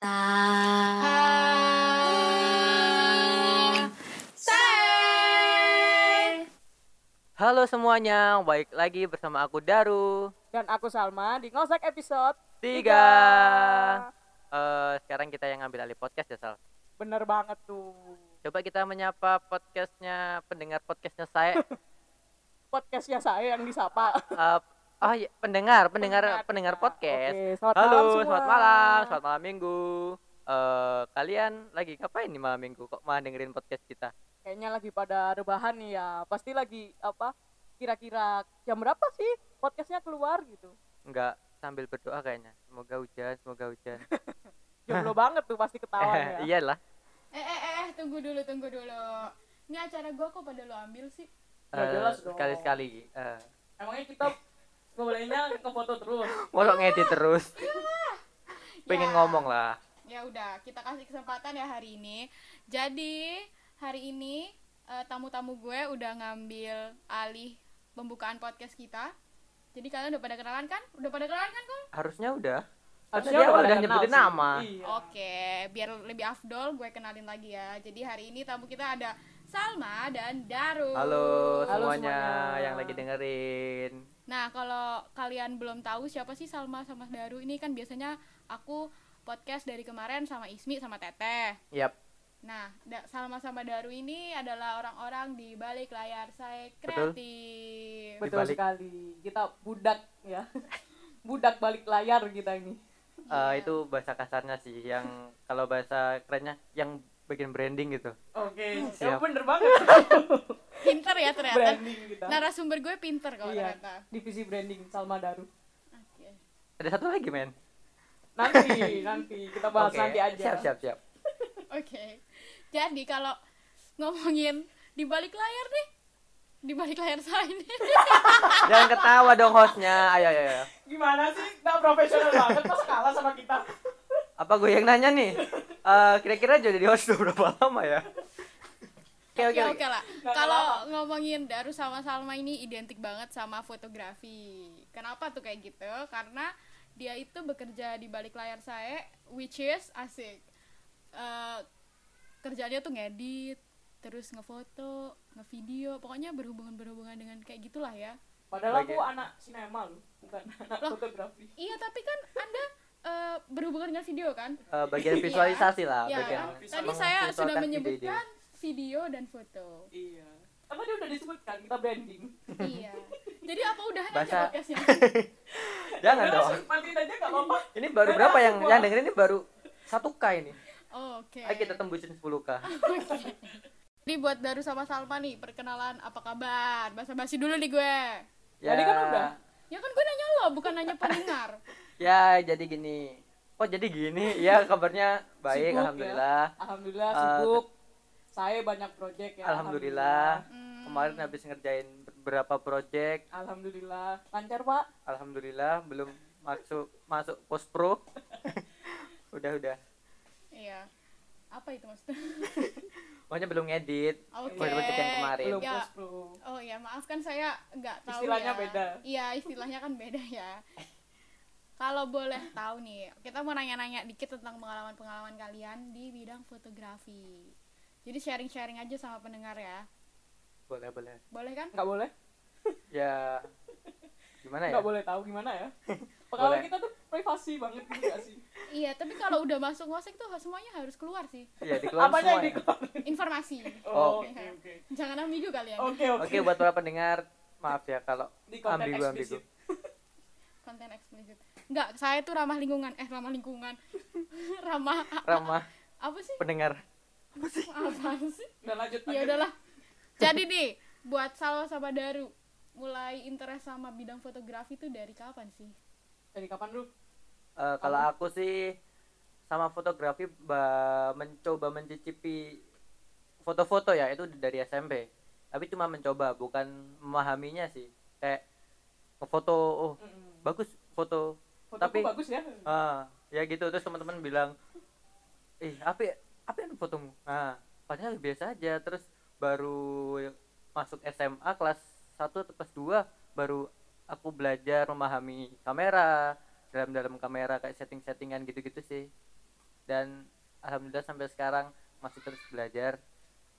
Sa Halo semuanya, baik lagi bersama aku Daru. Dan aku Salma di Ngosek episode Tiga. Eh, sekarang kita yang ngambil alih podcast ya Sal. Bener banget tuh Coba kita menyapa podcastnya pendengar podcastnya saya. Podcastnya saya yang disapa Eh, oh iya, pendengar, pendengar, Pendengar pendengar kita. podcast. Oke, selamat malam Halo, semua. selamat malam, selamat malam minggu. Eh, kalian lagi ngapain nih malam minggu? Kok malah dengerin podcast kita? Kayaknya lagi pada rebahan nih ya Pasti lagi apa Kira-kira jam berapa sih podcastnya keluar gitu Enggak sambil berdoa kayaknya. Semoga hujan, semoga hujan. Jomblo banget tuh pasti Eh, ketahuan ya Iyalah. Eh, eh, eh, tunggu dulu, tunggu dulu. Ini acara gua kok pada lo ambil sih? Ya, Eh, jelas dong. sekali-sekali. Eh, Emangnya kita ngebolehinnya ngefoto terus masa ngedit terus. Pengen Ya. ngomong lah. Ya udah, kita kasih kesempatan ya hari ini. Jadi, hari ini eh, tamu-tamu gue udah ngambil alih pembukaan podcast kita. Jadi kalian udah pada kenalan kan? Udah pada kenalan kan, Kul? Harusnya udah. Karena Harusnya dia udah udah kenal nyebutin sih. nama. Iya. Oke, biar lebih afdol gue kenalin lagi ya. Jadi hari ini tamu kita ada Salma dan Daru. Halo Halo semuanya semuanya. yang lagi dengerin. Nah, kalau kalian belum tahu siapa sih Salma sama Daru ini kan biasanya aku podcast dari kemarin sama Ismi sama Teteh. Yap, Nah, Da- Salma sama Daru ini adalah orang-orang di balik layar saya Betul. kreatif. Betul Dibalik. sekali Kita budak ya Budak balik layar kita ini Eh, itu bahasa kasarnya sih yang kalau bahasa kerennya yang bikin branding gitu. Oke, Siap. bener banget Pinter ya ternyata. branding kita. Narasumber gue pinter kalau Iya, ternyata. divisi branding Salma Daru. Oke. Ada satu lagi, men. Nanti, nanti kita bahas Oke, nanti aja. Siap, siap, siap. Oke. Jadi kalau ngomongin di balik layar nih, di balik layar saya ini. Jangan ketawa dong hostnya. Ayo, ayo, ayo. Gimana sih? Nggak profesional banget, pas kalah sama kita. Apa gue yang nanya nih? Eh, kira-kira jadi host udah berapa lama ya? Oke, oke. Ya oke. oke lah. Nggak Kalau ngomongin Daru sama Salma ini identik banget sama fotografi. Kenapa tuh kayak gitu? Karena dia itu bekerja di balik layar saya, which is asik. Eh, kerjanya tuh ngedit, terus ngefoto, ngevideo, pokoknya berhubungan berhubungan dengan kayak gitulah ya. Padahal Oke. aku anak sinema loh, bukan anak Loh. fotografi. Iya tapi kan anda eh, berhubungan dengan video kan? Eh, bagian visualisasi lah, Ya, bagian. kan? Tadi saya sudah mengvisualkan ide-ide. menyebutkan video dan foto. Iya. Apa dia udah disebutkan kita branding? iya. Jadi apa udah aja Bahasa- podcastnya? Jangan Udah dong. langsung matiin aja nggak apa-apa. Ini baru berapa yang yang dengerin ini baru 1K ini. Oke. Ayo kita tembusin 10K. Jadi buat Daru sama Salma nih, perkenalan apa kabar? Basa-basi dulu nih gue. Tadi kan udah. Ya kan gue nanya lo, bukan nanya pendengar. Ya, jadi gini. Oh, jadi gini. Ya, kabarnya baik Sibuk ya. alhamdulillah. Alhamdulillah Eh, sibuk. Saya banyak project ya. Alhamdulillah. Kemarin habis ngerjain beberapa project. Alhamdulillah. Lancar, Pak. Alhamdulillah belum masuk masuk post pro. udah udah. Iya. Apa itu maksudnya? Pokoknya belum ngedit. Oke. Project yang kemarin. Belum Ya. post pro. Oh ya, maaf kan saya nggak tahu Istilahnya ya. beda. Iya, istilahnya kan beda ya. Kalau boleh tahu nih, kita mau nanya-nanya dikit tentang pengalaman-pengalaman kalian di bidang fotografi. Jadi sharing-sharing aja sama pendengar ya. Boleh boleh. Boleh kan? Nggak boleh. Ya gimana ya? nggak boleh tahu gimana ya pengalaman Boleh. kita tuh privasi banget gitu gak sih Iya, tapi kalau udah masuk ngosek tuh semuanya harus keluar sih. Ya dikeluarin apanya yang semua ya. dikeluarin Informasi. Oh, oke oke Jangan ambigu kalian. oke Oke, buat para pendengar, maaf ya kalau di konten ambigu ambigu. eksplisit konten eksplisit enggak saya tuh ramah lingkungan eh ramah lingkungan ramah Ramah apa sih pendengar. apa sih udah lanjut ya udahlah jadi nih buat Salwa sama Daru mulai interest sama bidang fotografi tuh dari kapan sih dari kapan lu Eh, kalau aku sih sama fotografi ba- mencoba mencicipi foto-foto ya itu dari SMP. Tapi cuma mencoba bukan memahaminya sih. Kayak foto oh Mm-mm. bagus foto. fotoku Tapi bagus ya ah, ya gitu terus teman-teman bilang ih apa ya- apa yang fotomu? Nah, padahal biasa aja terus baru masuk SMA kelas 1 atau kelas 2 baru aku belajar memahami kamera dalam-dalam kamera kayak setting-settingan gitu-gitu sih. dan alhamdulillah sampai sekarang masih terus belajar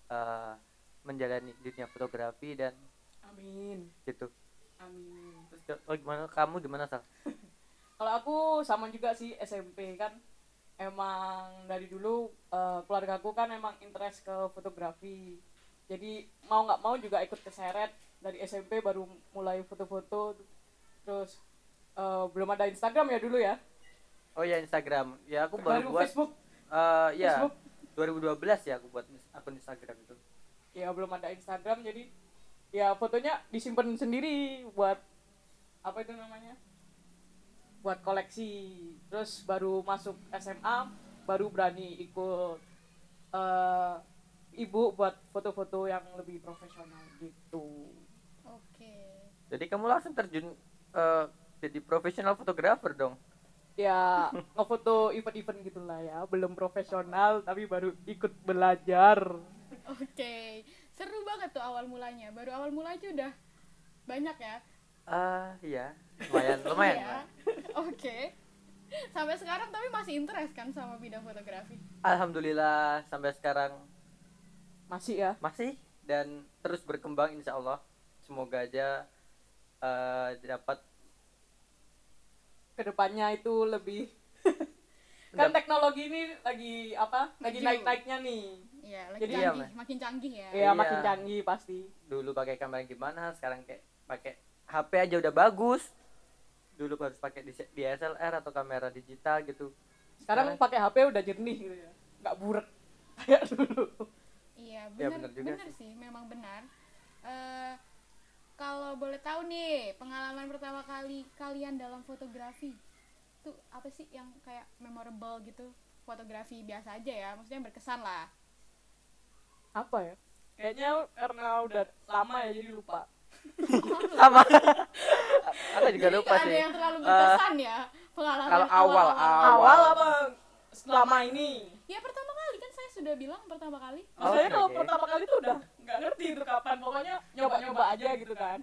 eh, menjalani dunia fotografi dan Amin. gitu. Amin. Terus oh, gimana kamu gimana sal? Kalau aku sama juga sih SMP kan emang dari dulu eh, keluarga aku kan emang interest ke fotografi. Jadi mau nggak mau juga ikut keseret dari SMP baru mulai foto-foto terus eh, belum ada Instagram ya dulu ya. Oh ya Instagram. Ya aku baru, buat Facebook. eh, ya Facebook. 2012 ya aku buat akun Instagram itu. Ya belum ada Instagram jadi ya fotonya disimpan sendiri buat apa itu namanya? buat koleksi terus baru masuk SMA baru berani ikut eh, ibu buat foto-foto yang lebih profesional gitu Oke. Jadi kamu langsung terjun eh, jadi profesional fotografer dong. ya ngefoto event-event gitulah ya belum profesional tapi baru ikut belajar Oke. Seru banget tuh awal mulanya. Baru awal mula aja udah banyak ya. Ah iya, lumayan lumayan. Iya. lumayan. Oke. Sampai sekarang tapi masih interest kan sama bidang fotografi. Alhamdulillah sampai sekarang masih ya masih dan terus berkembang insya Allah. Semoga aja eh, dapat kedepannya itu lebih kan Dap- teknologi ini lagi apa lagi Maju. naik-naiknya nih Iya, lagi Jadi- Iya, canggih, makin canggih ya. ya Iya. makin canggih pasti dulu pakai kamera yang gimana, sekarang kayak pakai HP aja udah bagus. Dulu harus pakai dis- DSLR atau kamera digital gitu. sekarang Sekarang- pakai HP udah jernih gitu ya nggak burek kayak dulu Iya, Ya, benar benar juga sih. memang benar. Eh, kalau boleh tahu nih, pengalaman pertama kali kalian dalam fotografi tuh apa sih yang kayak memorable gitu? Fotografi biasa aja ya, maksudnya berkesan lah. apa ya kayaknya karena udah lama ya jadi lupa Sama. Aku juga Jadi lupa nggak ada sih. Eh, yang terlalu berkesan ya pengalaman kalau awal, awal-awal. Awal. awal apa selama ini Ya pertama kali kan saya sudah bilang pertama kali. maksudnya Oke. kalau pertama kali tuh udah nggak ngerti itu kapan pokoknya nyoba-nyoba aja gitu kan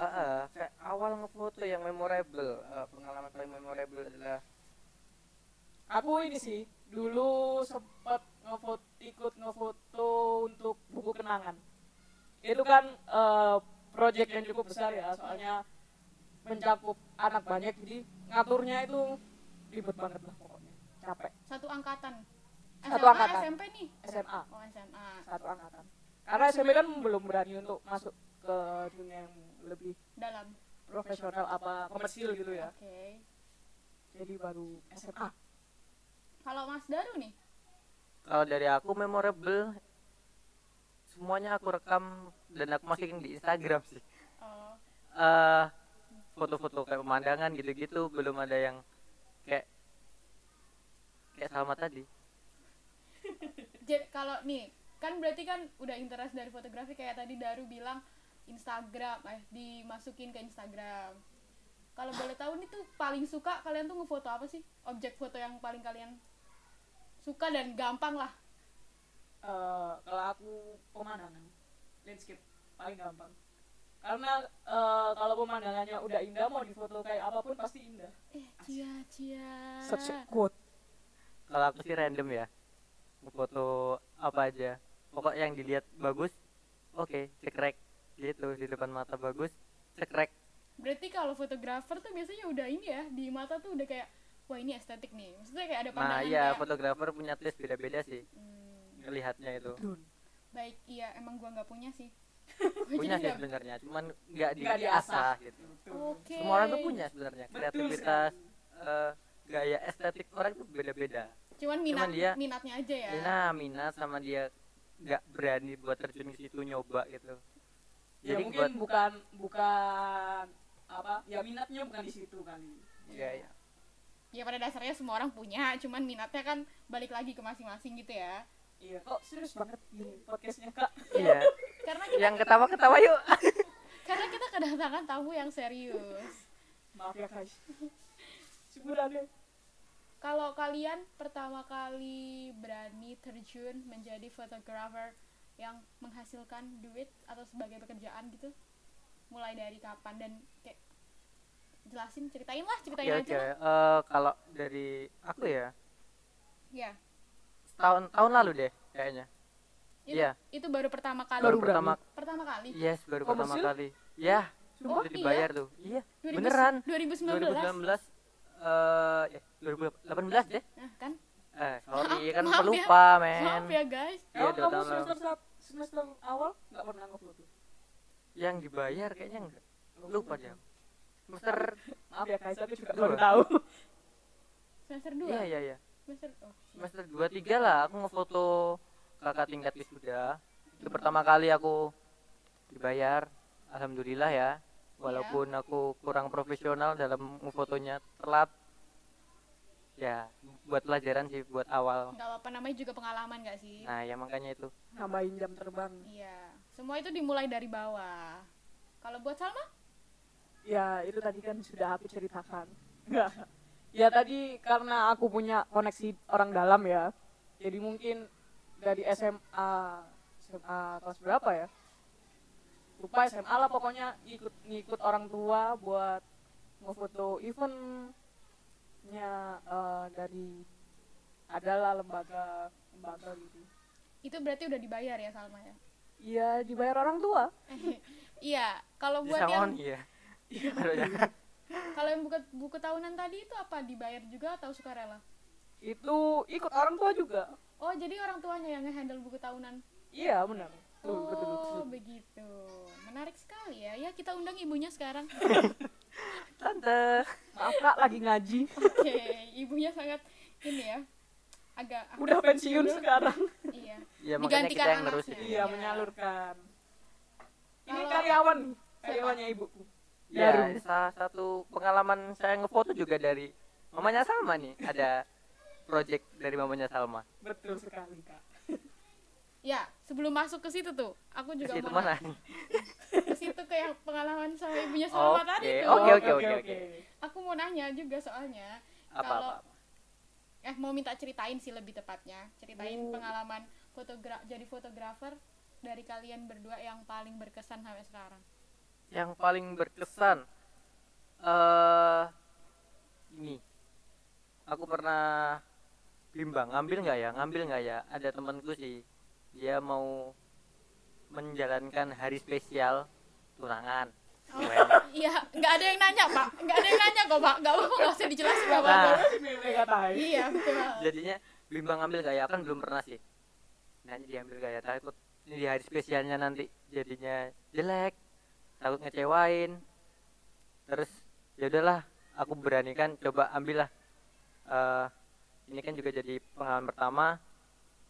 Heeh, kayak awal ngefoto yang memorable, Eh, pengalaman paling memorable adalah aku ini sih dulu sempet ngefoto ikut ngefoto untuk buku kenangan itu kan eh, project yang cukup besar ya soalnya mencakup anak banyak jadi ngaturnya itu ribet banget lah pokoknya capek Satu angkatan. Satu SMA, angkatan. SMP nih. SMA Oh, SMA. satu angkatan karena SMP kan belum berani untuk masuk ke dunia yang lebih Dalam. profesional apa komersil gitu ya Oke. jadi baru SMA Kalau Mas Daru nih, Kalau dari aku memorable semuanya aku rekam dan aku masukin di Instagram sih. oh, Eh, foto-foto kayak pemandangan gitu-gitu belum ada yang kayak kayak sama tadi. Jadi kalau nih kan berarti kan udah interest dari fotografi kayak tadi Daru bilang Instagram eh dimasukin ke Instagram. Kalau boleh tahu nih tuh paling suka kalian tuh ngefoto apa sih? Objek foto yang paling kalian suka dan gampang lah. Eh, kalau aku pemandangan landscape paling gampang karena eh, kalau pemandangannya udah indah mau difoto kayak apapun pasti indah Eh, cia cia. quote Kalau aku sih random ya. Foto apa aja. Pokok yang dilihat bagus, oke, cekrek gitu di depan mata bagus, cekrek. Berarti kalau fotografer tuh biasanya udah ini ya, di mata tuh udah kayak wah ini estetik nih. Maksudnya kayak ada pandangan ya. Nah, iya kayak, fotografer punya taste beda-beda sih "Hmm, melihatnya itu. baik iya emang gua nggak punya sih. Gua Punya jadi sih nggak- sebenarnya, cuman nggak di- Nggak diasah diasah. gitu. Oke. Semua orang tuh punya sebenarnya Betul kreativitas, eh, gaya estetik orang tuh beda-beda. Cuman minat Cuman dia- minatnya aja ya. Nah, Mina sama dia nggak berani buat terjun ke situ nyoba gitu. ya Jadi mungkin buat bukan bukan apa ya minatnya bukan di situ kali gaya. ya pada dasarnya semua orang punya cuman minatnya kan balik lagi ke masing-masing gitu ya iya kok serius banget ini podcastnya kak Iya. karena kita, Yang ketawa-ketawa yuk. karena kita kedatangan tamu yang serius maaf ya guys ya. Iya, sebenarnya kalau kalian pertama kali berani terjun menjadi fotografer yang menghasilkan duit atau sebagai pekerjaan gitu mulai dari kapan dan kayak jelasin ceritain lah ceritain Ya, Oke, eh, aja oke. lah. Eh, kalau dari aku ya, ya tahun tahun lalu deh kayaknya. Itu, Iya. itu baru pertama kali. Baru Baru pertama Pertama kali. yes baru pertama Komersil? kali. Ya, Oh, itu dibayar tuh. Iya, 2000 beneran. 2019. 2019 eh ya, 2018 deh. Nah, kan? Eh, sorry kan Maaf ya. pelupa, men. Maaf ya, guys. Iya, Emang dua kamu tahun lalu. semester sat- semester awal nggak pernah ngupload Yang dibayar kayaknya enggak. Lupa deh. aku. Semester maaf ya guys aku juga Dua. baru tahu Semester 2. iya iya iya. Semester oh. Semester 2 3 lah aku ngefoto kakak tingkat wisuda. Itu pertama kali aku dibayar. Alhamdulillah ya. Walaupun Iya. aku kurang profesional dalam ngefotonya telat. Ya, buat pelajaran sih buat awal. Enggak apa-apa namanya juga pengalaman gak sih? Nah, ya makanya itu. nambahin jam terbang Iya. Semua itu dimulai dari bawah. Kalau buat Salma? ya itu tadi kan sudah aku ceritakan Nggak. ya tadi karena aku punya koneksi orang dalam ya jadi mungkin dari SMA SMA kelas berapa ya lupa SMA lah pokoknya ikut ngikut orang tua buat ngefoto eventnya eh, dari adalah lembaga lembaga gitu Itu berarti udah dibayar ya Salma ya? Iya dibayar orang tua Iya, kalau buat Bisa yang on ya. Iya. kalau yang buku, buku tahunan tadi itu apa dibayar juga atau sukarela? itu ikut orang tua juga Oh, jadi orang tuanya yang ngehandle buku tahunan. iya benar Tuh, Oh, betul, betul. begitu. Menarik sekali ya. Ya, kita undang ibunya sekarang. Tante. Maaf kak lagi ngaji. Oke, ibunya sangat ini ya. Agak ah, Udah pensiun sekarang. Iya. Ya makanya Digantikan kita yang anaknya. nerusin. Iya menyalurkan. Ini Kalau- karyawan nih, karyawannya ibuku. Ya, Jarum. salah satu pengalaman saya ngefoto juga dari mamanya Salma nih. Ada project dari mamanya Salma. Betul sekali kak. Ya, sebelum masuk ke situ tuh, aku juga Ke situ mau mana? ke situ ke yang pengalaman sama ibunya Salma Oke, tadi tuh. Oke, oke, oke, oke. Aku mau nanya juga soalnya Apa, kalau apa, apa? eh mau minta ceritain sih lebih tepatnya, ceritain Hmm. pengalaman fotogra jadi fotografer dari kalian berdua yang paling berkesan sampai sekarang. Yang paling berkesan eh ini. Aku pernah bimbang ngambil nggak ya? Ngambil nggak ya? Ada temanku sih. Dia mau menjalankan hari spesial tunangan. Keren. Iya, nggak ada yang nanya pak, nggak ada yang nanya kok pak, nggak apa-apa nggak usah dijelasin nggak apa-apa. Nah, Mereka tahu. Iya betul. jadinya bimbang ngambil gaya kan belum pernah sih nanti diambil gaya takut ini di hari spesialnya nanti jadinya jelek takut ngecewain terus ya udahlah aku beranikan coba ambillah Eh, ini kan juga jadi pengalaman pertama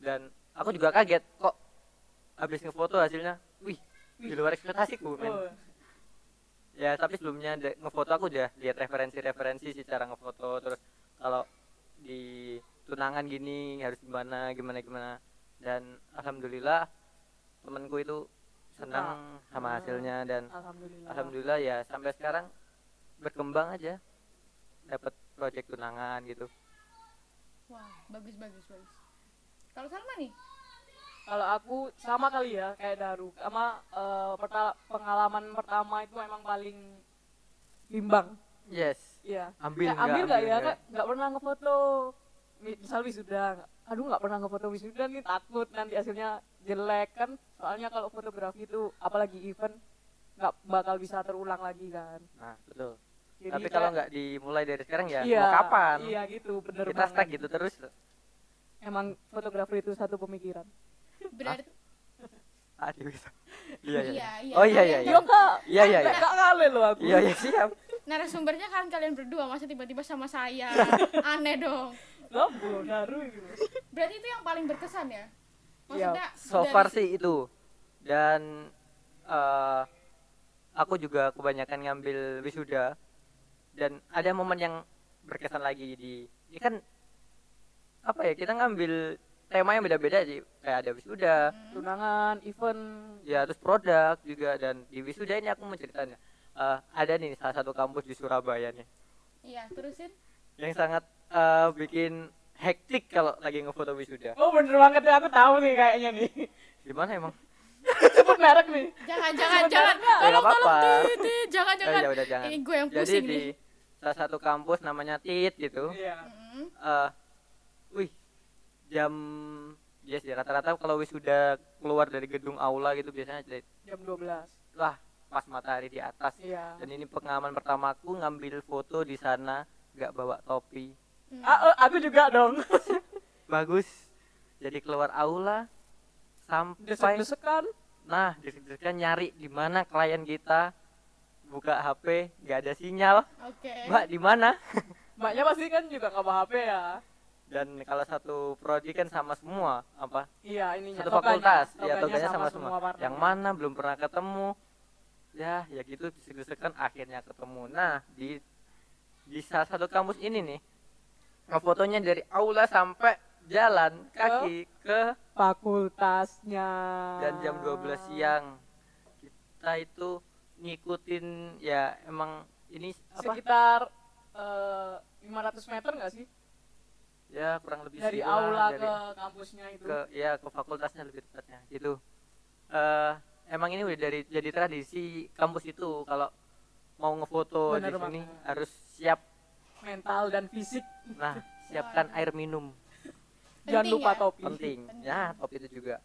dan aku juga kaget kok habis ngefoto hasilnya wih di luar ekspektasiku men Oh, ya tapi sebelumnya da- ngefoto aku udah lihat referensi-referensi sih cara ngefoto terus kalau di tunangan gini harus gimana gimana gimana dan alhamdulillah temanku itu senang sama hasilnya dan Alhamdulillah. alhamdulillah ya sampai sekarang berkembang aja dapat proyek tunangan gitu Wah bagus bagus bagus. Kalau Salma nih, Kalau aku sama kali ya kayak Daru. Sama eh, perta- pengalaman pertama itu memang paling bimbang. yes Iya. ambil Kayak nggak, ambil nggak ya nggak? kak nggak pernah ngefoto Mi- misal wisuda aduh nggak pernah ngefoto wisuda nih takut nanti hasilnya jelek kan soalnya kalau fotografi itu apalagi event nggak bakal bisa terulang lagi kan nah betul Jadi tapi kalau kayak- nggak dimulai dari sekarang ya iya, mau kapan iya gitu bener kita banget. stuck gitu terus emang fotografi itu satu pemikiran berarti aduh bisa iya Iya, iya iya. oh iya iya Kalian iya yo kak Iya, iya, iya. nggak kali loh aku iya iya siap narasumbernya kan kalian berdua masa tiba-tiba sama saya aneh dong Loh, Bu, Daru gitu berarti itu yang paling berkesan ya maksudnya Iya, so dari- far sih itu dan eh, aku juga kebanyakan ngambil wisuda dan ada momen yang berkesan lagi di ini kan apa ya kita ngambil tema yang beda-beda sih kayak ada wisuda Hmm. tunangan event ya terus produk juga dan di wisuda ini aku mau ceritain ya. Eh, ada nih salah satu kampus di Surabaya nih iya terusin yang sangat eh, bikin hektik kalau lagi ngefoto wisuda oh bener banget ya aku tahu nih kayaknya nih gimana emang sebut merek nih jangan jangan jangan Ya, tolong nggak tolong apa-apa. Tit, Tit. jangan Eh, jangan ya udah jangan kan. ini gue yang jadi pusing di nih salah satu Hmm, kampus namanya Tit gitu iya Mm-mm. eh wih jam Iya sih rata-rata kalau wisuda keluar dari gedung aula gitu biasanya dari- jam 12 lah pas matahari di atas. iya Dan ini pengalaman pertamaku ngambil foto di sana nggak bawa topi. ah, eh, aku juga dong Bagus. Jadi keluar aula sampai desek-desekan nah desek-desekan nyari di mana klien kita buka HP nggak ada sinyal. Oke. Mbak di mana? mbaknya pasti kan juga nggak bawa HP ya Dan kalau satu prodi kan sama semua apa iya ininya satu toganya. fakultas ya Toganya toganya sama, semua, warna. yang mana belum pernah ketemu ya ya gitu kan akhirnya ketemu nah di di salah satu kampus ini nih fotonya dari aula sampai jalan kaki ke fakultasnya dan Ah. jam 12 siang kita itu ngikutin ya emang ini apa sekitar eh, 500 meter nggak sih ya kurang lebih dari segitulah, aula dari- ke kampusnya itu ke ya ke fakultasnya lebih tepatnya gitu eh emang ini udah dari jadi tradisi kampus itu kalau mau ngefoto di Bener sini banget. harus siap mental dan fisik nah siapkan air minum jangan Penting lupa ya? topi penting Penting. ya top itu juga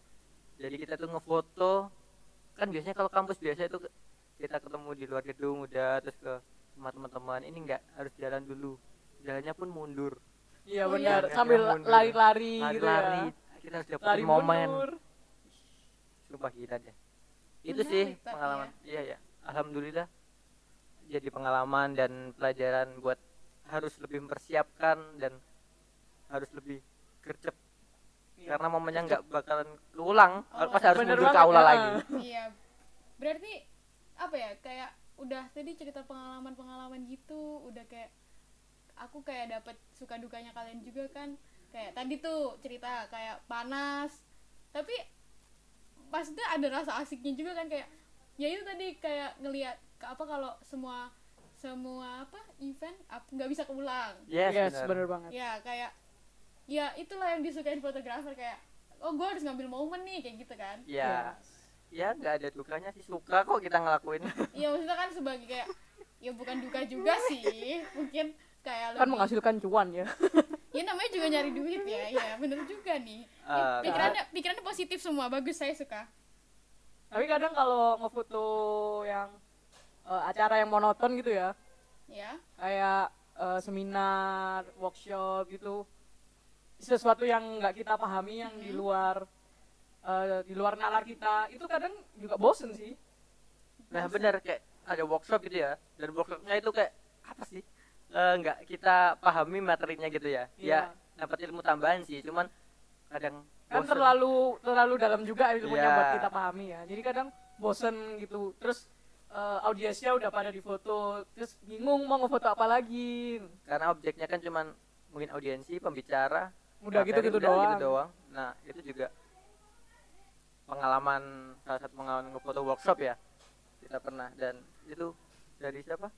jadi kita tuh ngefoto kan biasanya kalau kampus biasa itu ke- kita ketemu di luar gedung udah terus ke sama teman-teman ini enggak harus jalan dulu jalannya pun mundur iya Oh, benar iya. sambil Yang mundur. lari-lari gitu ya lari-lari kita harus lari dapetin momen mundur Sumpah gila deh. Iya, Itu Menarik, sih tapi pengalaman. Iya ya. Alhamdulillah jadi pengalaman dan pelajaran buat harus lebih mempersiapkan dan harus lebih gercep Iya. karena momennya nggak bakalan keulang Oh, pas harus Bener mundur ke banget, aula ya. lagi Iya. Berarti apa ya? Kayak udah tadi cerita pengalaman-pengalaman gitu, udah kayak aku kayak dapat suka dukanya kalian juga kan. Kayak tadi tuh cerita kayak panas. Tapi maksudnya ada rasa asiknya juga kan kayak ya itu tadi kayak ngelihat ke apa kalau semua semua apa event ap- nggak bisa keulang yes, Iya. yes bener. benar banget ya kayak ya itulah yang disukain fotografer kayak oh gue harus ngambil momen nih kayak gitu kan ya Yes. ya nggak ada dukanya sih suka kok kita ngelakuin Iya maksudnya kan sebagai kayak ya bukan duka juga sih mungkin kayak kan lebih- menghasilkan cuan ya ya namanya juga nyari duit ya ya bener juga nih Ya, Ah, kan? Eh, pikirannya pikirannya positif semua bagus saya suka tapi kadang kalau ngefoto yang eh, acara yang monoton gitu ya ya kayak eh, seminar workshop gitu sesuatu yang nggak kita pahami yang Mm-hmm. di luar eh, di luar nalar kita itu kadang juga bosen sih nah benar kayak ada workshop gitu ya dan workshopnya itu kayak apa sih Eh, nggak kita pahami materinya gitu ya Iya. ya dapat ilmu tambahan sih cuman kadang kan bosen. terlalu terlalu dalam juga ilmunya Iya. buat kita pahami ya jadi kadang bosen gitu terus eh, audiensnya udah pada difoto terus bingung mau ngefoto apa lagi karena objeknya kan cuman mungkin audiensi pembicara udah materi, gitu gitu udah doang, nah itu juga pengalaman salah satu pengalaman foto workshop ya kita pernah dan itu dari siapa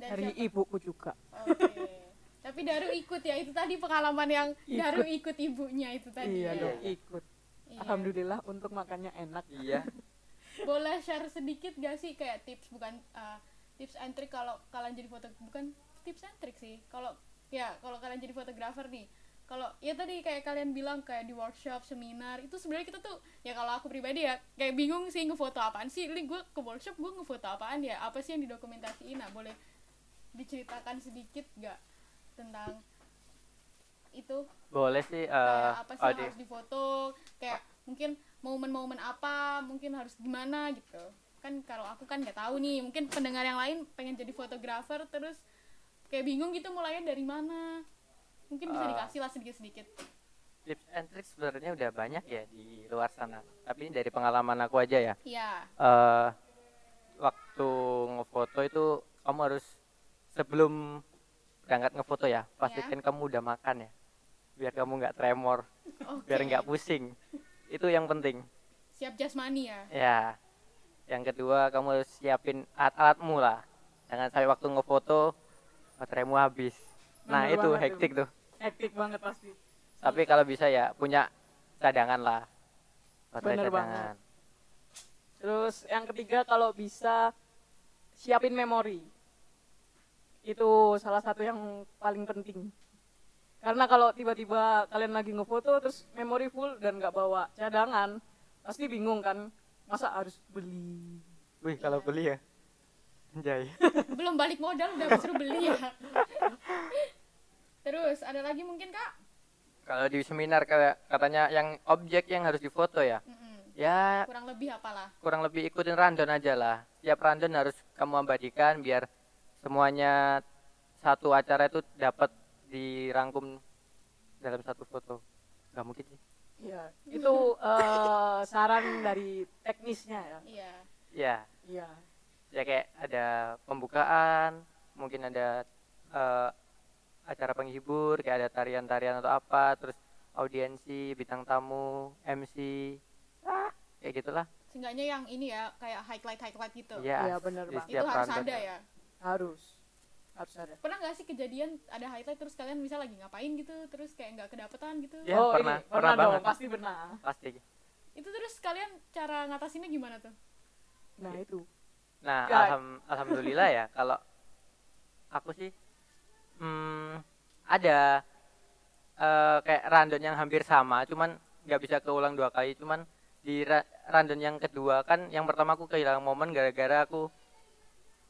dan dari siap- ibuku juga oke tapi Daru ikut ya itu tadi pengalaman yang Daru ikut ibunya itu tadi iya ya dong ikut Iya. alhamdulillah untuk makannya enak iya boleh share sedikit gak sih kayak tips bukan eh, tips and trick kalau kalian jadi foto bukan tips and trick sih kalau ya kalau kalian jadi fotografer nih kalau ya tadi kayak kalian bilang kayak di workshop seminar itu sebenarnya kita tuh ya kalau aku pribadi ya kayak bingung sih ngefoto apaan sih ini gue ke workshop gue ngefoto apaan ya apa sih yang didokumentasiin nah boleh diceritakan sedikit gak tentang itu boleh sih eh, kayak apa sih yang Adi. harus difoto kayak mungkin momen-momen apa mungkin harus gimana gitu kan kalau aku kan nggak tahu nih mungkin pendengar yang lain pengen jadi fotografer terus kayak bingung gitu mulainya dari mana mungkin bisa Ah. dikasih lah sedikit-sedikit tips and tricks sebenarnya udah banyak ya di luar sana tapi ini dari pengalaman aku aja ya ya eh waktu ngefoto itu kamu harus sebelum berangkat ngefoto ya pastikan Iya. kamu udah makan ya biar kamu nggak tremor oke biar Iya. nggak pusing itu yang penting siap jasmani ya ya yang kedua kamu harus siapin alat-alatmu lah jangan sampai waktu ngefoto bateraimu habis nah Bener itu banget hektik tuh hektik banget pasti tapi kalau bisa ya punya cadangan lah baterai Bener banget. cadangan Terus yang ketiga kalau bisa siapin memori. Itu salah satu yang paling penting. Karena kalau tiba-tiba kalian lagi ngefoto terus memori full dan nggak bawa cadangan, pasti bingung kan? Masa harus beli? Wih, kalau beli ya. Anjay. belum balik modal udah disuruh beli ya terus ada lagi mungkin kak kalau di seminar kayak katanya yang objek yang harus difoto ya. Mm-mm. Ya kurang lebih apalah kurang lebih ikutin random aja lah. Tiap random harus kamu abadikan biar semuanya satu acara itu dapat dirangkum dalam satu foto. Gak mungkin sih. Iya, itu eh, saran dari teknisnya ya. iya Ya, Iya. ya kayak ada pembukaan, mungkin ada eh, acara penghibur, kayak ada tarian-tarian atau apa, terus audiensi, bintang tamu, MC, ah, kayak gitulah. seenggaknya yang ini ya kayak highlight highlight gitu Iya, Iya, bener, di Bang. itu setiap harus random. ada ya Harus. Harus ada. pernah nggak sih kejadian ada highlight terus kalian bisa lagi ngapain gitu terus kayak nggak kedapetan gitu Ya, oh, pernah, ini, pernah pernah, dong, banget. pasti pernah. Pasti. itu terus kalian cara ngatasinnya gimana tuh Nah, itu. Nah, Ya. alham- alhamdulillah ya kalau aku sih hmm, ada eh, kayak random yang hampir sama, cuman nggak bisa keulang dua kali, cuman di ra- random yang kedua kan yang pertama aku kehilangan momen gara-gara aku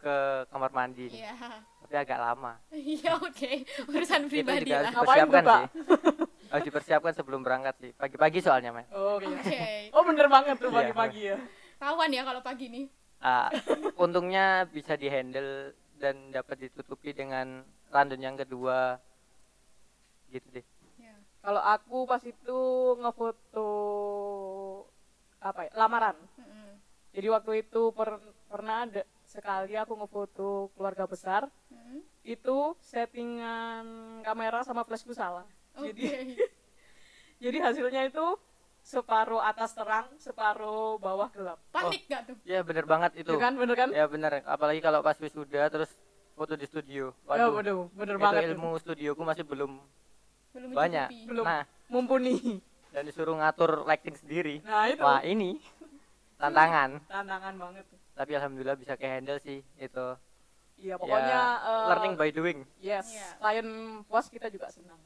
ke kamar mandi nih. iya tapi agak lama. iya oke urusan Itu pribadi juga lah harus Ngapain tuh, dipersiapkan Pak? sih. Harus dipersiapkan sebelum berangkat sih. Pagi-pagi soalnya, Mas. Oh, oke iya. Oh, bener banget tuh Iya. pagi-pagi ya. rawan ya kalau pagi nih Ah, untungnya bisa dihandle dan dapat ditutupi dengan random yang kedua. Gitu deh. Iya. Kalau aku pas itu ngefoto apa ya? Lamaran. Mm-mm. Jadi waktu itu per- pernah ada sekali aku ngefoto keluarga besar. Mm-mm. Itu settingan kamera sama flashku salah. oke Jadi jadi hasilnya itu separuh atas terang, separuh bawah gelap. panik nggak tuh Ya bener banget itu. Bener kan? Bener kan? Ya bener. Apalagi kalau pas wisuda terus foto di studio. Ya, Waduh. waduh, bener itu banget. tuh. ilmu studioku masih belum belum banyak. mencukupi. iya. Belum. Nah, Mumpuni. dan disuruh ngatur lighting sendiri. Nah, itu Wah, ini tantangan. tantangan banget. tuh. Tapi alhamdulillah bisa kehandle sih itu. Iya, pokoknya Ya, eh, learning by doing. Yes, Iya. klien puas kita juga senang.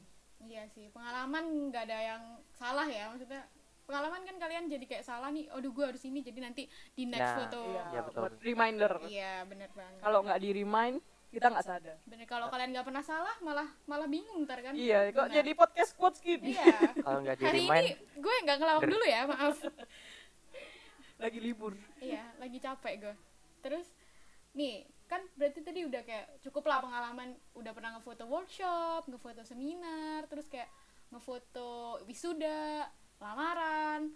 Iya sih, pengalaman nggak ada yang salah ya maksudnya. Pengalaman kan kalian jadi kayak salah nih, aduh gue harus ini jadi nanti di next Nah, foto. Iya, Iya, betul. buat reminder. Iya, bener banget. Kalau nggak di remind, kita nggak sadar. Bener kalau kalian nggak pernah salah malah malah bingung ntar kan. Iya, kok Benar. jadi podcast quotes gini? Iya. Kalau nggak di Hari remind, ini gue nggak ngelawak dulu ya, maaf. Lagi libur. iya, lagi capek gue. Terus nih kan berarti tadi udah kayak cukup lah pengalaman udah pernah ngefoto workshop, ngefoto seminar, terus kayak ngefoto wisuda, lamaran,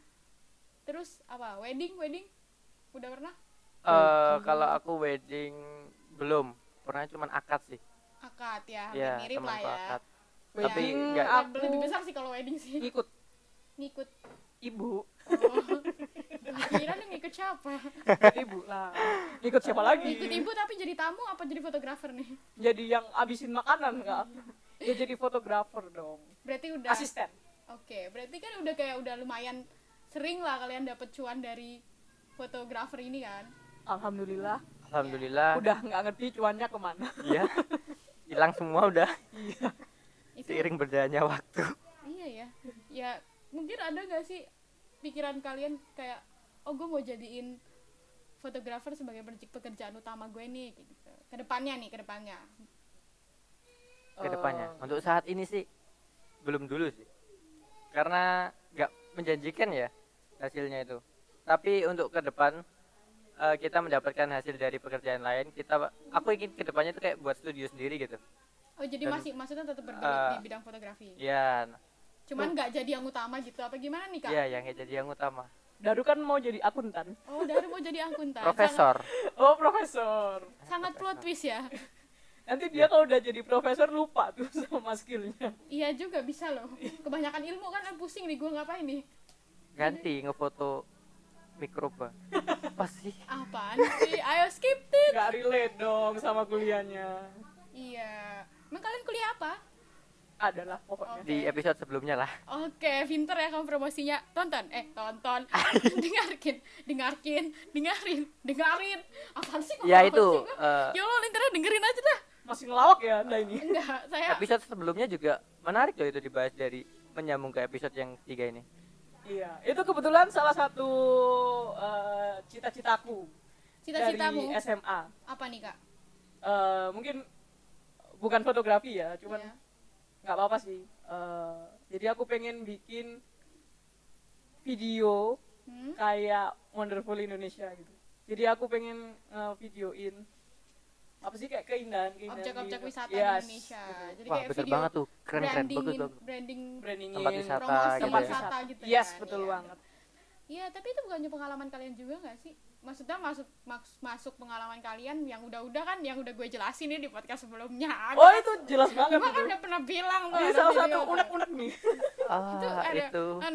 terus apa wedding wedding udah pernah eh, kalau aku wedding belum. Pernah cuman akad sih. akad ya hampir Iya, mirip lah temanku ya akad. Tapi Wedding nggak- Lebih- aku lebih besar sih kalau wedding sih ngikut ngikut ibu, oh. kira nih ngikut siapa ibu lah. Ngikut siapa lagi? ngikut ibu tapi jadi tamu apa jadi fotografer nih Jadi yang abisin makanan nggak? Ya jadi fotografer dong. berarti udah oke Asisten. berarti kan udah kayak udah lumayan sering lah kalian dapet cuan dari fotografer ini kan Alhamdulillah. Alhamdulillah. Udah nggak ngerti cuannya kemana. Iya. Hilang semua udah itu seiring berjalannya waktu. iya ya ya mungkin ada nggak sih pikiran kalian kayak oh gue mau jadiin fotografer sebagai proyek pekerjaan utama gue nih kayak gitu kedepannya nih kedepannya Oh. ke depannya. Untuk saat ini sih belum dulu sih. Karena nggak menjanjikan ya hasilnya itu. Tapi untuk ke depan eh, kita mendapatkan hasil dari pekerjaan lain, kita aku ingin ke depannya itu kayak buat studio sendiri gitu. oh jadi Dan- masih maksudnya tetap bergelut di Ah. bidang fotografi Iya, nah, cuman nggak jadi yang utama gitu apa gimana nih kak iya yang jadi yang utama. Daru kan mau jadi akuntan. oh dari mau jadi akuntan sangat, Profesor. Oh profesor. sangat plot twist ya Nanti Iya. dia kalau udah jadi profesor lupa tuh sama skillnya. iya juga bisa loh kebanyakan ilmu kan ah, pusing nih gue ngapain nih Ganti ngefoto mikroba. Apa sih? apaan sih ayo skip it Gak relate dong sama kuliahnya. iya emang kalian kuliah apa Adalah pokoknya. Di episode sebelumnya lah. Oke, pinter ya kamu promosinya. Tonton, eh tonton, dengarkin, dengarkin, dengarin, dengarin. Apaan sih? kamu? Ya Apaan itu sih, kamu? eh, Ya Allah, linternya dengerin aja dah. masih ngelawak ya anda ini enggak saya episode sebelumnya juga menarik loh itu dibahas dari menyambung ke episode yang tiga ini iya itu kebetulan salah satu eh, cita-citaku cita-citamu dari SMA apa nih kak Eh, mungkin bukan fotografi ya cuman Iya. nggak apa-apa sih Eh, jadi aku pengen bikin video Hmm? kayak Wonderful Indonesia gitu jadi aku pengen eh, videoin apa sih kayak keindahan keindahan objek-objek wisata Yes, di Indonesia gitu. jadi wah kayak bener video banget tuh keren keren branding gitu. bagus bagus branding brandingin Tempat wisata promosi gitu tempat ya. wisata wisata gitu yes kan, betul iya. banget Iya, tapi itu bukannya pengalaman kalian juga nggak sih? Maksudnya masuk maks- masuk pengalaman kalian yang udah-udah kan yang udah gue jelasin nih di podcast sebelumnya. oh itu jelas gue banget kan itu udah pernah bilang tuh. ada ini salah video satu tuh. unek-unek nih ah Itu ada uh, itu ada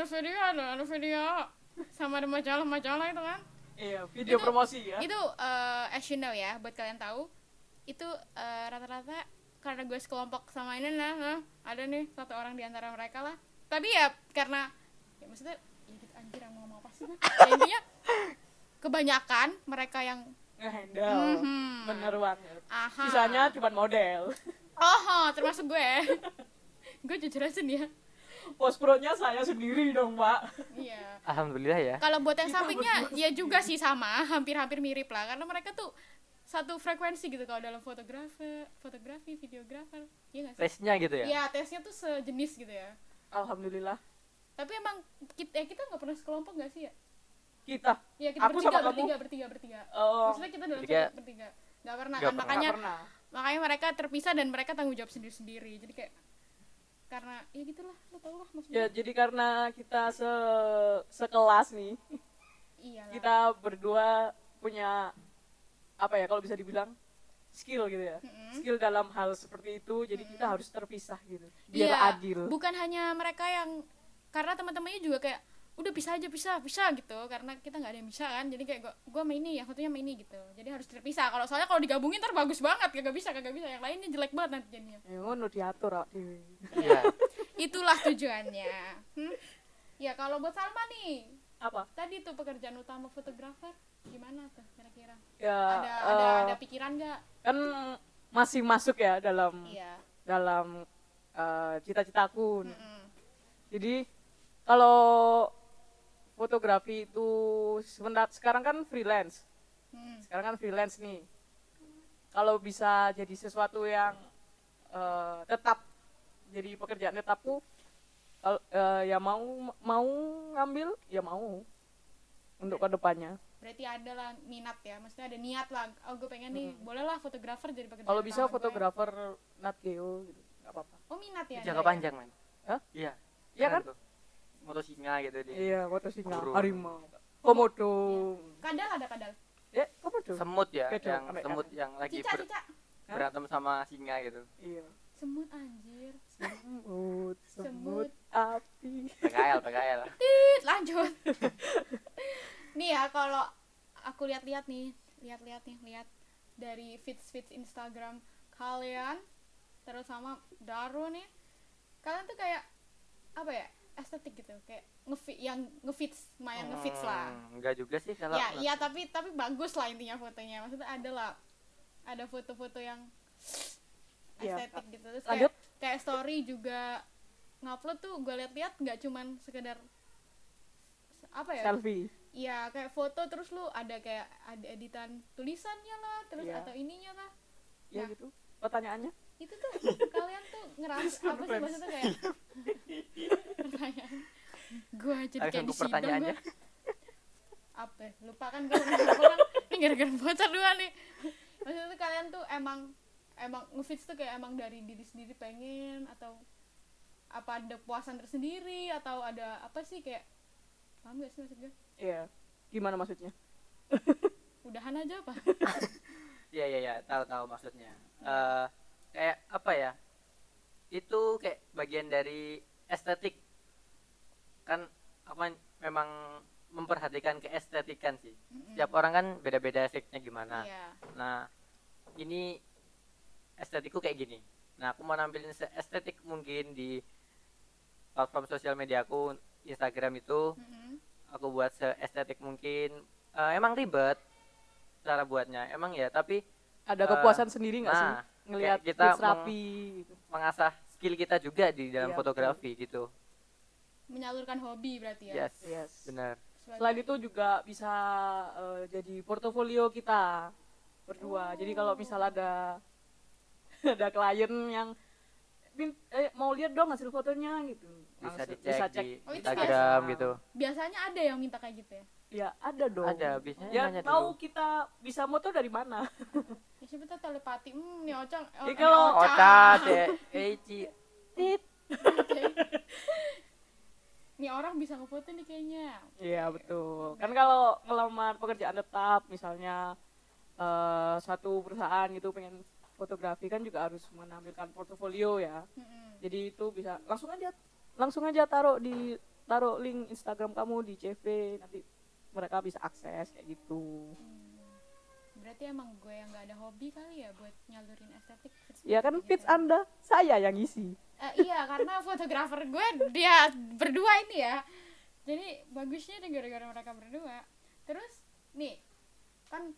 video, ada, ada video sama ada majalah-majalah itu kan. iya video Itu- promosi ya Itu eh as you know ya, buat kalian tahu itu eh, rata-rata karena gue sekelompok sama ini nah, nah, ada nih satu orang di antara mereka lah. Tapi ya karena ya maksudnya ya gitu anjir mau ngomong apa sih? nah. Ya, intinya kebanyakan mereka yang ngehandle Mhm. bener banget aha sisanya cuma model Oh, termasuk gue. gue jujur aja nih ya. post pro-nya saya sendiri dong pak Iya. alhamdulillah ya Kalau buat yang sampingnya ya juga sih sama, hampir-hampir mirip lah karena mereka tuh satu frekuensi gitu kalau dalam fotografer, fotografi, videografer. Iya gak sih? tesnya gitu ya Iya, tesnya tuh sejenis gitu ya. alhamdulillah Tapi emang kita eh, kita nggak pernah sekelompok gak sih ya? kita Ya kita Aku bertiga, sama kamu. bertiga, bertiga, bertiga. oh, Maksudnya kita dalam Bertiga. satu bertiga. Gak pernah kan Nggak pernah. makanya nggak pernah makanya mereka terpisah dan mereka tanggung jawab sendiri-sendiri. Jadi kayak karena ya gitulah, lo tau lah maksudnya. ya jadi karena kita se sekelas nih Iya lah. kita berdua punya apa ya kalau bisa dibilang skill gitu ya Mm-mm. skill dalam hal seperti itu jadi kita harus terpisah gitu biar Iya, adil Bukan hanya mereka yang karena teman-temannya juga kayak udah bisa aja bisa bisa gitu karena kita nggak ada yang bisa kan jadi kayak gua gua main ini yang satunya main ini gitu jadi harus terpisah kalau soalnya kalau digabungin ntar bagus banget kagak bisa kagak bisa yang lainnya jelek banget nanti jadinya ya ngono diatur awak dhewe. iya itulah tujuannya Hmm? ya kalau buat Salma nih apa tadi tuh pekerjaan utama fotografer gimana tuh kira-kira ya ada eh, ada ada pikiran nggak kan masih masuk ya dalam iya dalam eh, cita-citaku Mm-mm. Jadi kalau fotografi itu sebentar sekarang kan freelance. Hmm. Sekarang kan freelance nih. Kalau bisa jadi sesuatu yang eh, tetap jadi pekerjaan tetapku kalau eh, ya mau mau ngambil ya mau untuk kedepannya. berarti ada lah minat ya maksudnya ada niat lah oh gue pengen nih bolehlah fotografer jadi pekerjaan Hmm. Kalau bisa utama gue. fotografer Nat Geo gitu, nggak apa-apa. oh minat ya jangka Andrea? panjang man Hah? iya Iya Keren kan? tuh. motor singa gitu di Iya, foto singa, Burung. harimau, komodo. kadal ada kadal Eh, komodo. semut ya Beda, yang sampai semut yang lagi cica ber- cica Hah? berantem sama singa gitu Iya. semut anjir Semut, Semut. semut api. PKL PKL Tit, lanjut nih ya kalau aku lihat-lihat nih lihat-lihat nih lihat dari feeds feeds Instagram kalian terus sama Daro nih kalian tuh kayak apa ya estetik gitu kayak ngefit yang ngefits main ngefits lah Hmm, enggak juga sih kalau ya iya tapi tapi bagus lah intinya fotonya maksudnya ada lah ada foto-foto yang Iya. estetik gitu terus Lanjut. kayak, kayak story juga ngupload tuh gue liat-liat nggak cuman sekedar apa ya Selfie. iya kayak foto terus lu ada kayak ada editan tulisannya lah terus Iya. atau ininya lah Ya Nah. gitu. Pertanyaannya? itu tuh kalian tuh ngerasa apa sih Fans. maksudnya kayak pertanyaan gue jadi Langsung kayak ke disidang pertanyaannya. gua. apa ya? lupa kan gue orang ini gara-gara bocor dua nih maksudnya tuh kalian tuh emang emang ngefits tuh kayak emang dari diri sendiri pengen atau apa ada puasan tersendiri atau ada apa sih kayak paham gak sih maksud gue Iya. Gimana maksudnya? udahan aja apa Iya iya iya, tahu tahu maksudnya. Eh kayak apa ya? Itu kayak bagian dari estetik. Kan aku men- memang memperhatikan keestetikan sih. Setiap orang kan beda-beda estetiknya gimana. iya Nah, ini estetikku kayak gini. Nah, aku mau nampilin se- estetik mungkin di platform sosial media aku Instagram itu Mm-mm. aku buat seestetik mungkin Eh, emang ribet cara buatnya emang ya tapi ada Eh, kepuasan sendiri nggak sih nah, ngelihat kayak kita kids rapi gitu. mengasah skill kita juga di dalam Iya, fotografi gitu menyalurkan hobi Iya, berarti ya yes Yes. benar Sebagai- Selain itu juga bisa eh, jadi portofolio kita berdua. Jadi kalau misal ada ada klien yang "Bin- eh, mau lihat dong hasil fotonya gitu. bisa Langsung- dicek di Oh, itu Instagram biasa. gitu biasanya ada yang minta kayak gitu ya Ya, ada dong. ada biasanya Ya nanya tahu dulu kita bisa moto dari mana? ya siapa tahu telepati hmm nih ocang oh, Ya, ini kalau ocat Iya, ya Eici Tit. nih orang bisa ngefoto nih kayaknya Iya betul. Kan kalau ngelamar pekerjaan tetap misalnya eh, satu perusahaan gitu pengen fotografi kan juga harus menampilkan portofolio ya. Mm-mm. Jadi itu bisa langsung aja langsung aja taruh di taruh link Instagram kamu di CV nanti mereka bisa akses kayak gitu. berarti emang gue yang gak ada hobi kali ya buat nyalurin estetik Ya kan Gitu fits Anda, saya yang ngisi. Eh, iya karena fotografer gue dia berdua ini ya jadi bagusnya nih gara-gara mereka berdua terus nih kan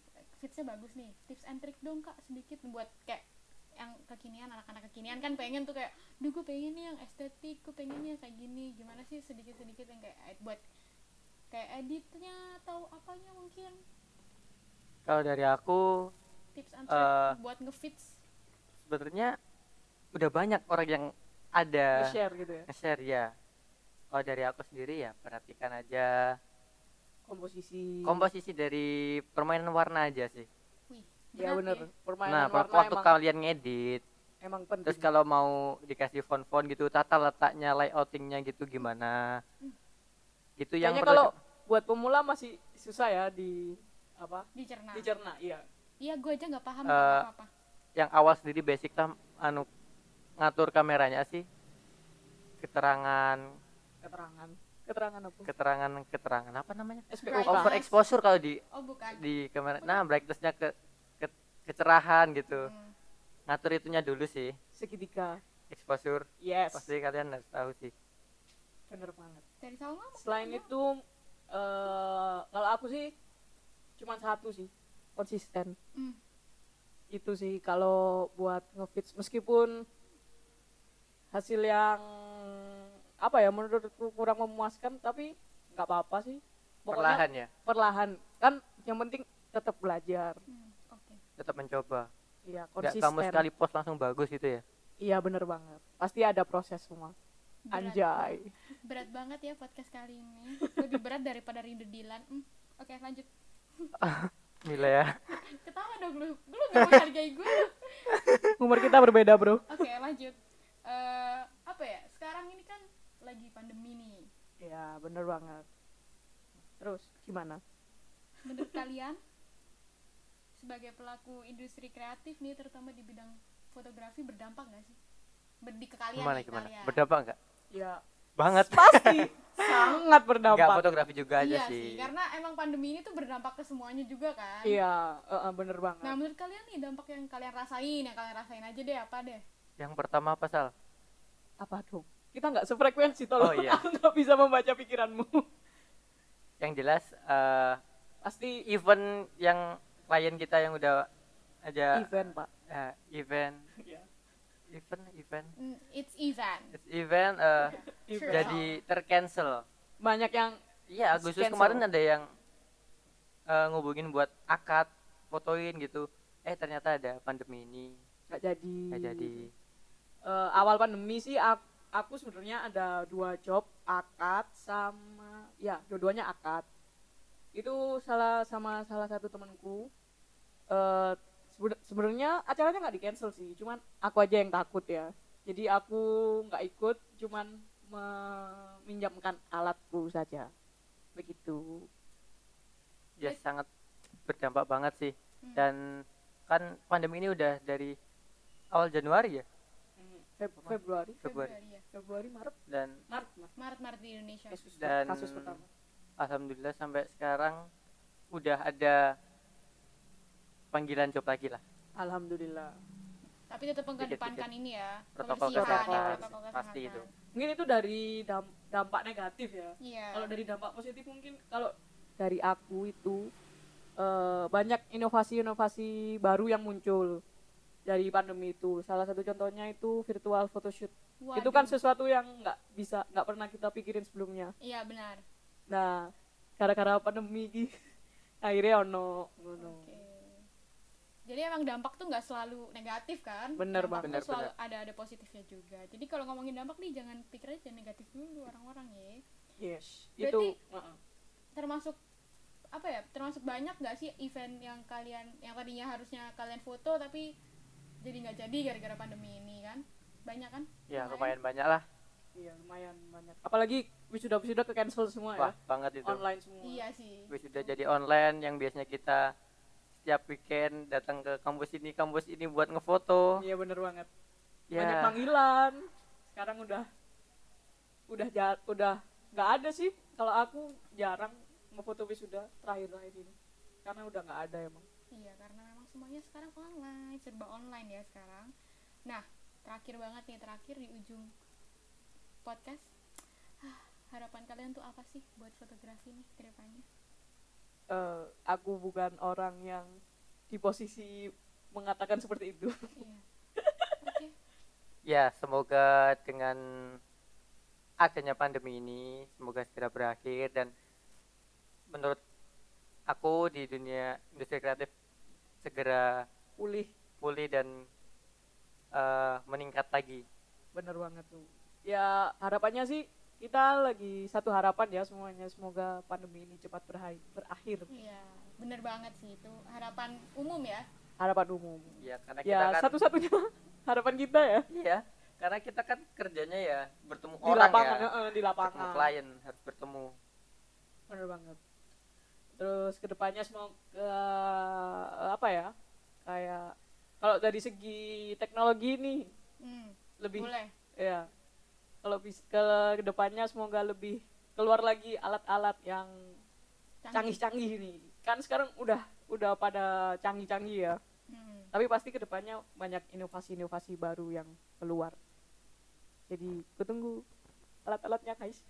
fitsnya bagus nih tips and trick dong kak sedikit buat kayak yang kekinian anak-anak kekinian kan pengen tuh kayak duh gue pengen nih yang estetik gue pengen nih yang kayak gini gimana sih sedikit-sedikit yang kayak eh, buat kayak editnya atau apanya mungkin kalau dari aku tips and trick Eh. buat ngefits sebenarnya udah banyak orang yang ada Share gitu ya. nge-share ya kalau dari aku sendiri ya perhatikan aja Komposisi. komposisi dari permainan warna aja sih wih iya, ya berat bener. Permainan nah warna waktu emang, kalian ngedit emang penting. terus kalau mau dikasih font-font gitu tata letaknya layoutingnya gitu gimana itu yang Hmm. Kayaknya perlu kalau buat pemula masih susah ya di apa? dicerna Dicerna, iya. iya gue aja nggak paham Eh. apa apa yang awal sendiri basic tam anu ngatur kameranya sih keterangan Keterangan. Keterangan apa? keterangan keterangan apa namanya SPO. Pak. over exposure kalau di oh bukan di kamera nah brightnessnya ke, ke- kecerahan gitu Hmm. ngatur itunya dulu sih Segitiga. exposure Yes. pasti kalian harus tahu sih Bener banget. dari Salma apa? Selain itu eh kalau aku sih cuman satu sih, konsisten. Hmm. Itu sih kalau buat ngefits meskipun hasil yang apa ya menurutku kurang memuaskan tapi nggak apa-apa sih. Pokoknya perlahan ya perlahan. Kan yang penting tetap belajar. Hmm, oke tetap mencoba Iya, nggak konsisten. kamu sekali post langsung bagus gitu ya Iya, bener banget. Pasti ada proses semua. Berat. Anjay. berat banget ya podcast kali ini lebih berat daripada rindu Dilan Hmm, oke lanjut Mila ya ketawa dong lu lu gak menghargai gue lu. Umur kita berbeda, Bro. oke lanjut Eh, apa ya sekarang ini kan lagi pandemi nih Iya, bener banget. Terus gimana? menurut kalian sebagai pelaku industri kreatif nih terutama di bidang fotografi berdampak gak sih Ber- di ke kalian gimana nih, gimana kalian. berdampak nggak Ya, banget pasti sangat nggak berdampak. fotografi juga aja iya sih sih karena emang pandemi ini tuh berdampak ke semuanya juga kan Iya, eh, eh, bener banget. Nah, menurut kalian nih dampak yang kalian rasain, yang kalian rasain aja deh apa deh? yang pertama apa sal Apa dong? Kita nggak sefrekuensi Oh, tolong. iya. Aku nggak bisa membaca pikiranmu. yang jelas eh Pasti event yang klien kita yang udah aja event, Pak. eh, event Iya. event event Mm, It's event. It's event eh, Event. jadi tercancel Banyak yang iya Agustus Cancel. kemarin ada yang eh, ngubungin buat akad fotoin gitu eh ternyata ada pandemi ini nggak jadi. nggak jadi Eh, awal pandemi sih aku, aku sebenarnya ada dua job, akad sama ya, dua-duanya akad. Itu salah sama salah satu temanku. Eh sebe- sebenarnya acaranya nggak di-cancel sih, cuman aku aja yang takut ya. Jadi aku nggak ikut, cuman meminjamkan alatku saja. Begitu. ya Jadi- sangat berdampak banget sih Hmm. dan kan pandemi ini udah dari awal Januari ya Feb- Februari, Februari ya. Hmm. Februari, Maret, dan Maret, Maret. Maret-Maret di Indonesia. Kasus, Dan- kasus pertama. alhamdulillah sampai sekarang udah ada panggilan job lagi lah Alhamdulillah. Tapi tetap mengedepankan ini ya, Protokol kebersihan, kesehatan, protokol pasti kesehatan. itu. Mungkin itu dari dam- dampak negatif ya. Iya. kalau dari dampak positif mungkin kalau dari aku itu eh, banyak inovasi-inovasi baru yang muncul dari pandemi itu. Salah satu contohnya itu virtual photoshoot. Itu kan Waduh. sesuatu yang nggak bisa, nggak pernah kita pikirin sebelumnya. Iya benar. Nah, gara-gara pandemi gini, akhirnya ono ngono. Oke. Jadi emang dampak tuh nggak selalu negatif kan? Bener, Dampak tuh Bang. Bener, selalu ada ada positifnya juga. Jadi kalau ngomongin dampak nih jangan pikir aja negatif dulu orang-orang ya. Yes, Berarti- itu heeh. Termasuk apa ya? Termasuk banyak nggak sih event yang kalian yang tadinya harusnya kalian foto tapi jadi nggak jadi gara-gara pandemi ini kan? Banyak kan? ya Lumayan. lumayan banyak lah Iya, lumayan banyak. Apalagi wisuda-wisuda ke cancel semua wah gitu. ya. banget itu Online semua. Iya sih. wis udah jadi online yang biasanya kita setiap weekend datang ke kampus ini kampus ini buat ngefoto Iya bener banget. ya Iya, Banyak panggilan. Sekarang udah udah jar udah nggak ada sih kalau aku jarang ngefoto wisuda terakhir-terakhir ini. Karena udah nggak ada emang. Iya, karena memang semuanya sekarang online, serba online ya sekarang. Nah, terakhir banget nih, terakhir di ujung podcast. Ah, Harapan kalian tuh apa sih buat fotografi nih ke depannya? Eh, aku bukan orang yang di posisi mengatakan seperti itu. Iya. Oke. Ya, semoga dengan adanya pandemi ini semoga segera berakhir dan menurut aku di dunia industri kreatif segera Pulih pulih dan eh, meningkat lagi. bener banget tuh ya harapannya sih kita lagi satu harapan ya semuanya semoga pandemi ini cepat berhai- berakhir Iya, bener banget sih itu harapan umum ya. harapan umum Ya, karena kita ya kan satu-satunya harapan kita ya Iya, karena kita kan kerjanya ya bertemu di orang ya. lapangan eh, di Bertemu lapangan klien harus bertemu. bener banget terus kedepannya semoga eh, apa ya kayak kalau dari segi teknologi nih Hmm, lebih boleh. ya kalau bis ke kedepannya semoga lebih keluar lagi alat-alat yang Canggih. canggih-canggih ini kan sekarang udah udah pada canggih-canggih ya Hmm, tapi pasti kedepannya banyak inovasi-inovasi baru yang keluar jadi kutunggu alat-alatnya guys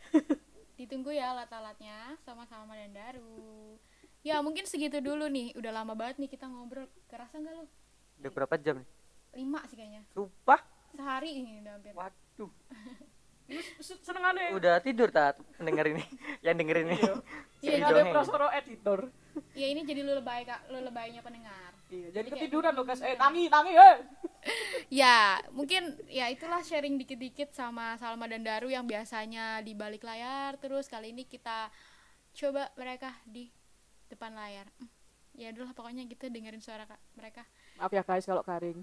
Ditunggu ya alat-alatnya sama-sama dan baru. Ya, mungkin segitu dulu nih. Udah lama banget nih kita ngobrol. Kerasa nggak lu? Udah berapa jam nih? Lima sih kayaknya. Sumpah. Sehari ini udah hampir. Waduh. seneng ya? aneh Udah tidur tak mendengar ini? Yang denger ini. Iya, ini Iya, ada Johnny. prosoro editor Ya ini jadi lu lebay kak, lu lebaynya pendengar. iya jadi Oke. ketiduran lo guys eh tangi tangi eh Ya mungkin ya itulah sharing dikit-dikit sama Salma dan Daru yang biasanya di balik layar terus kali ini kita coba mereka di depan layar. Hmm. Ya dulu pokoknya gitu dengerin suara kak mereka. maaf ya guys kalau garing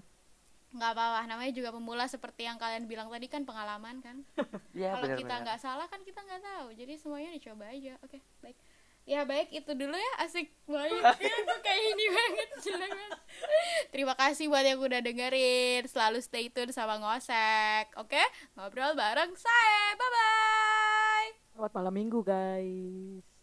Nggak apa-apa, namanya juga pemula seperti yang kalian bilang tadi kan pengalaman kan. Iya, Kalau kita benar-benar. nggak salah kan kita nggak tahu. Jadi semuanya dicoba aja. Oke baik. Ya baik itu dulu ya asik banget. Itu kayak ini banget jelek banget. Terima kasih buat yang udah dengerin. Selalu stay tune sama ngosek. Oke ngobrol bareng saya. Bye bye. selamat malam minggu guys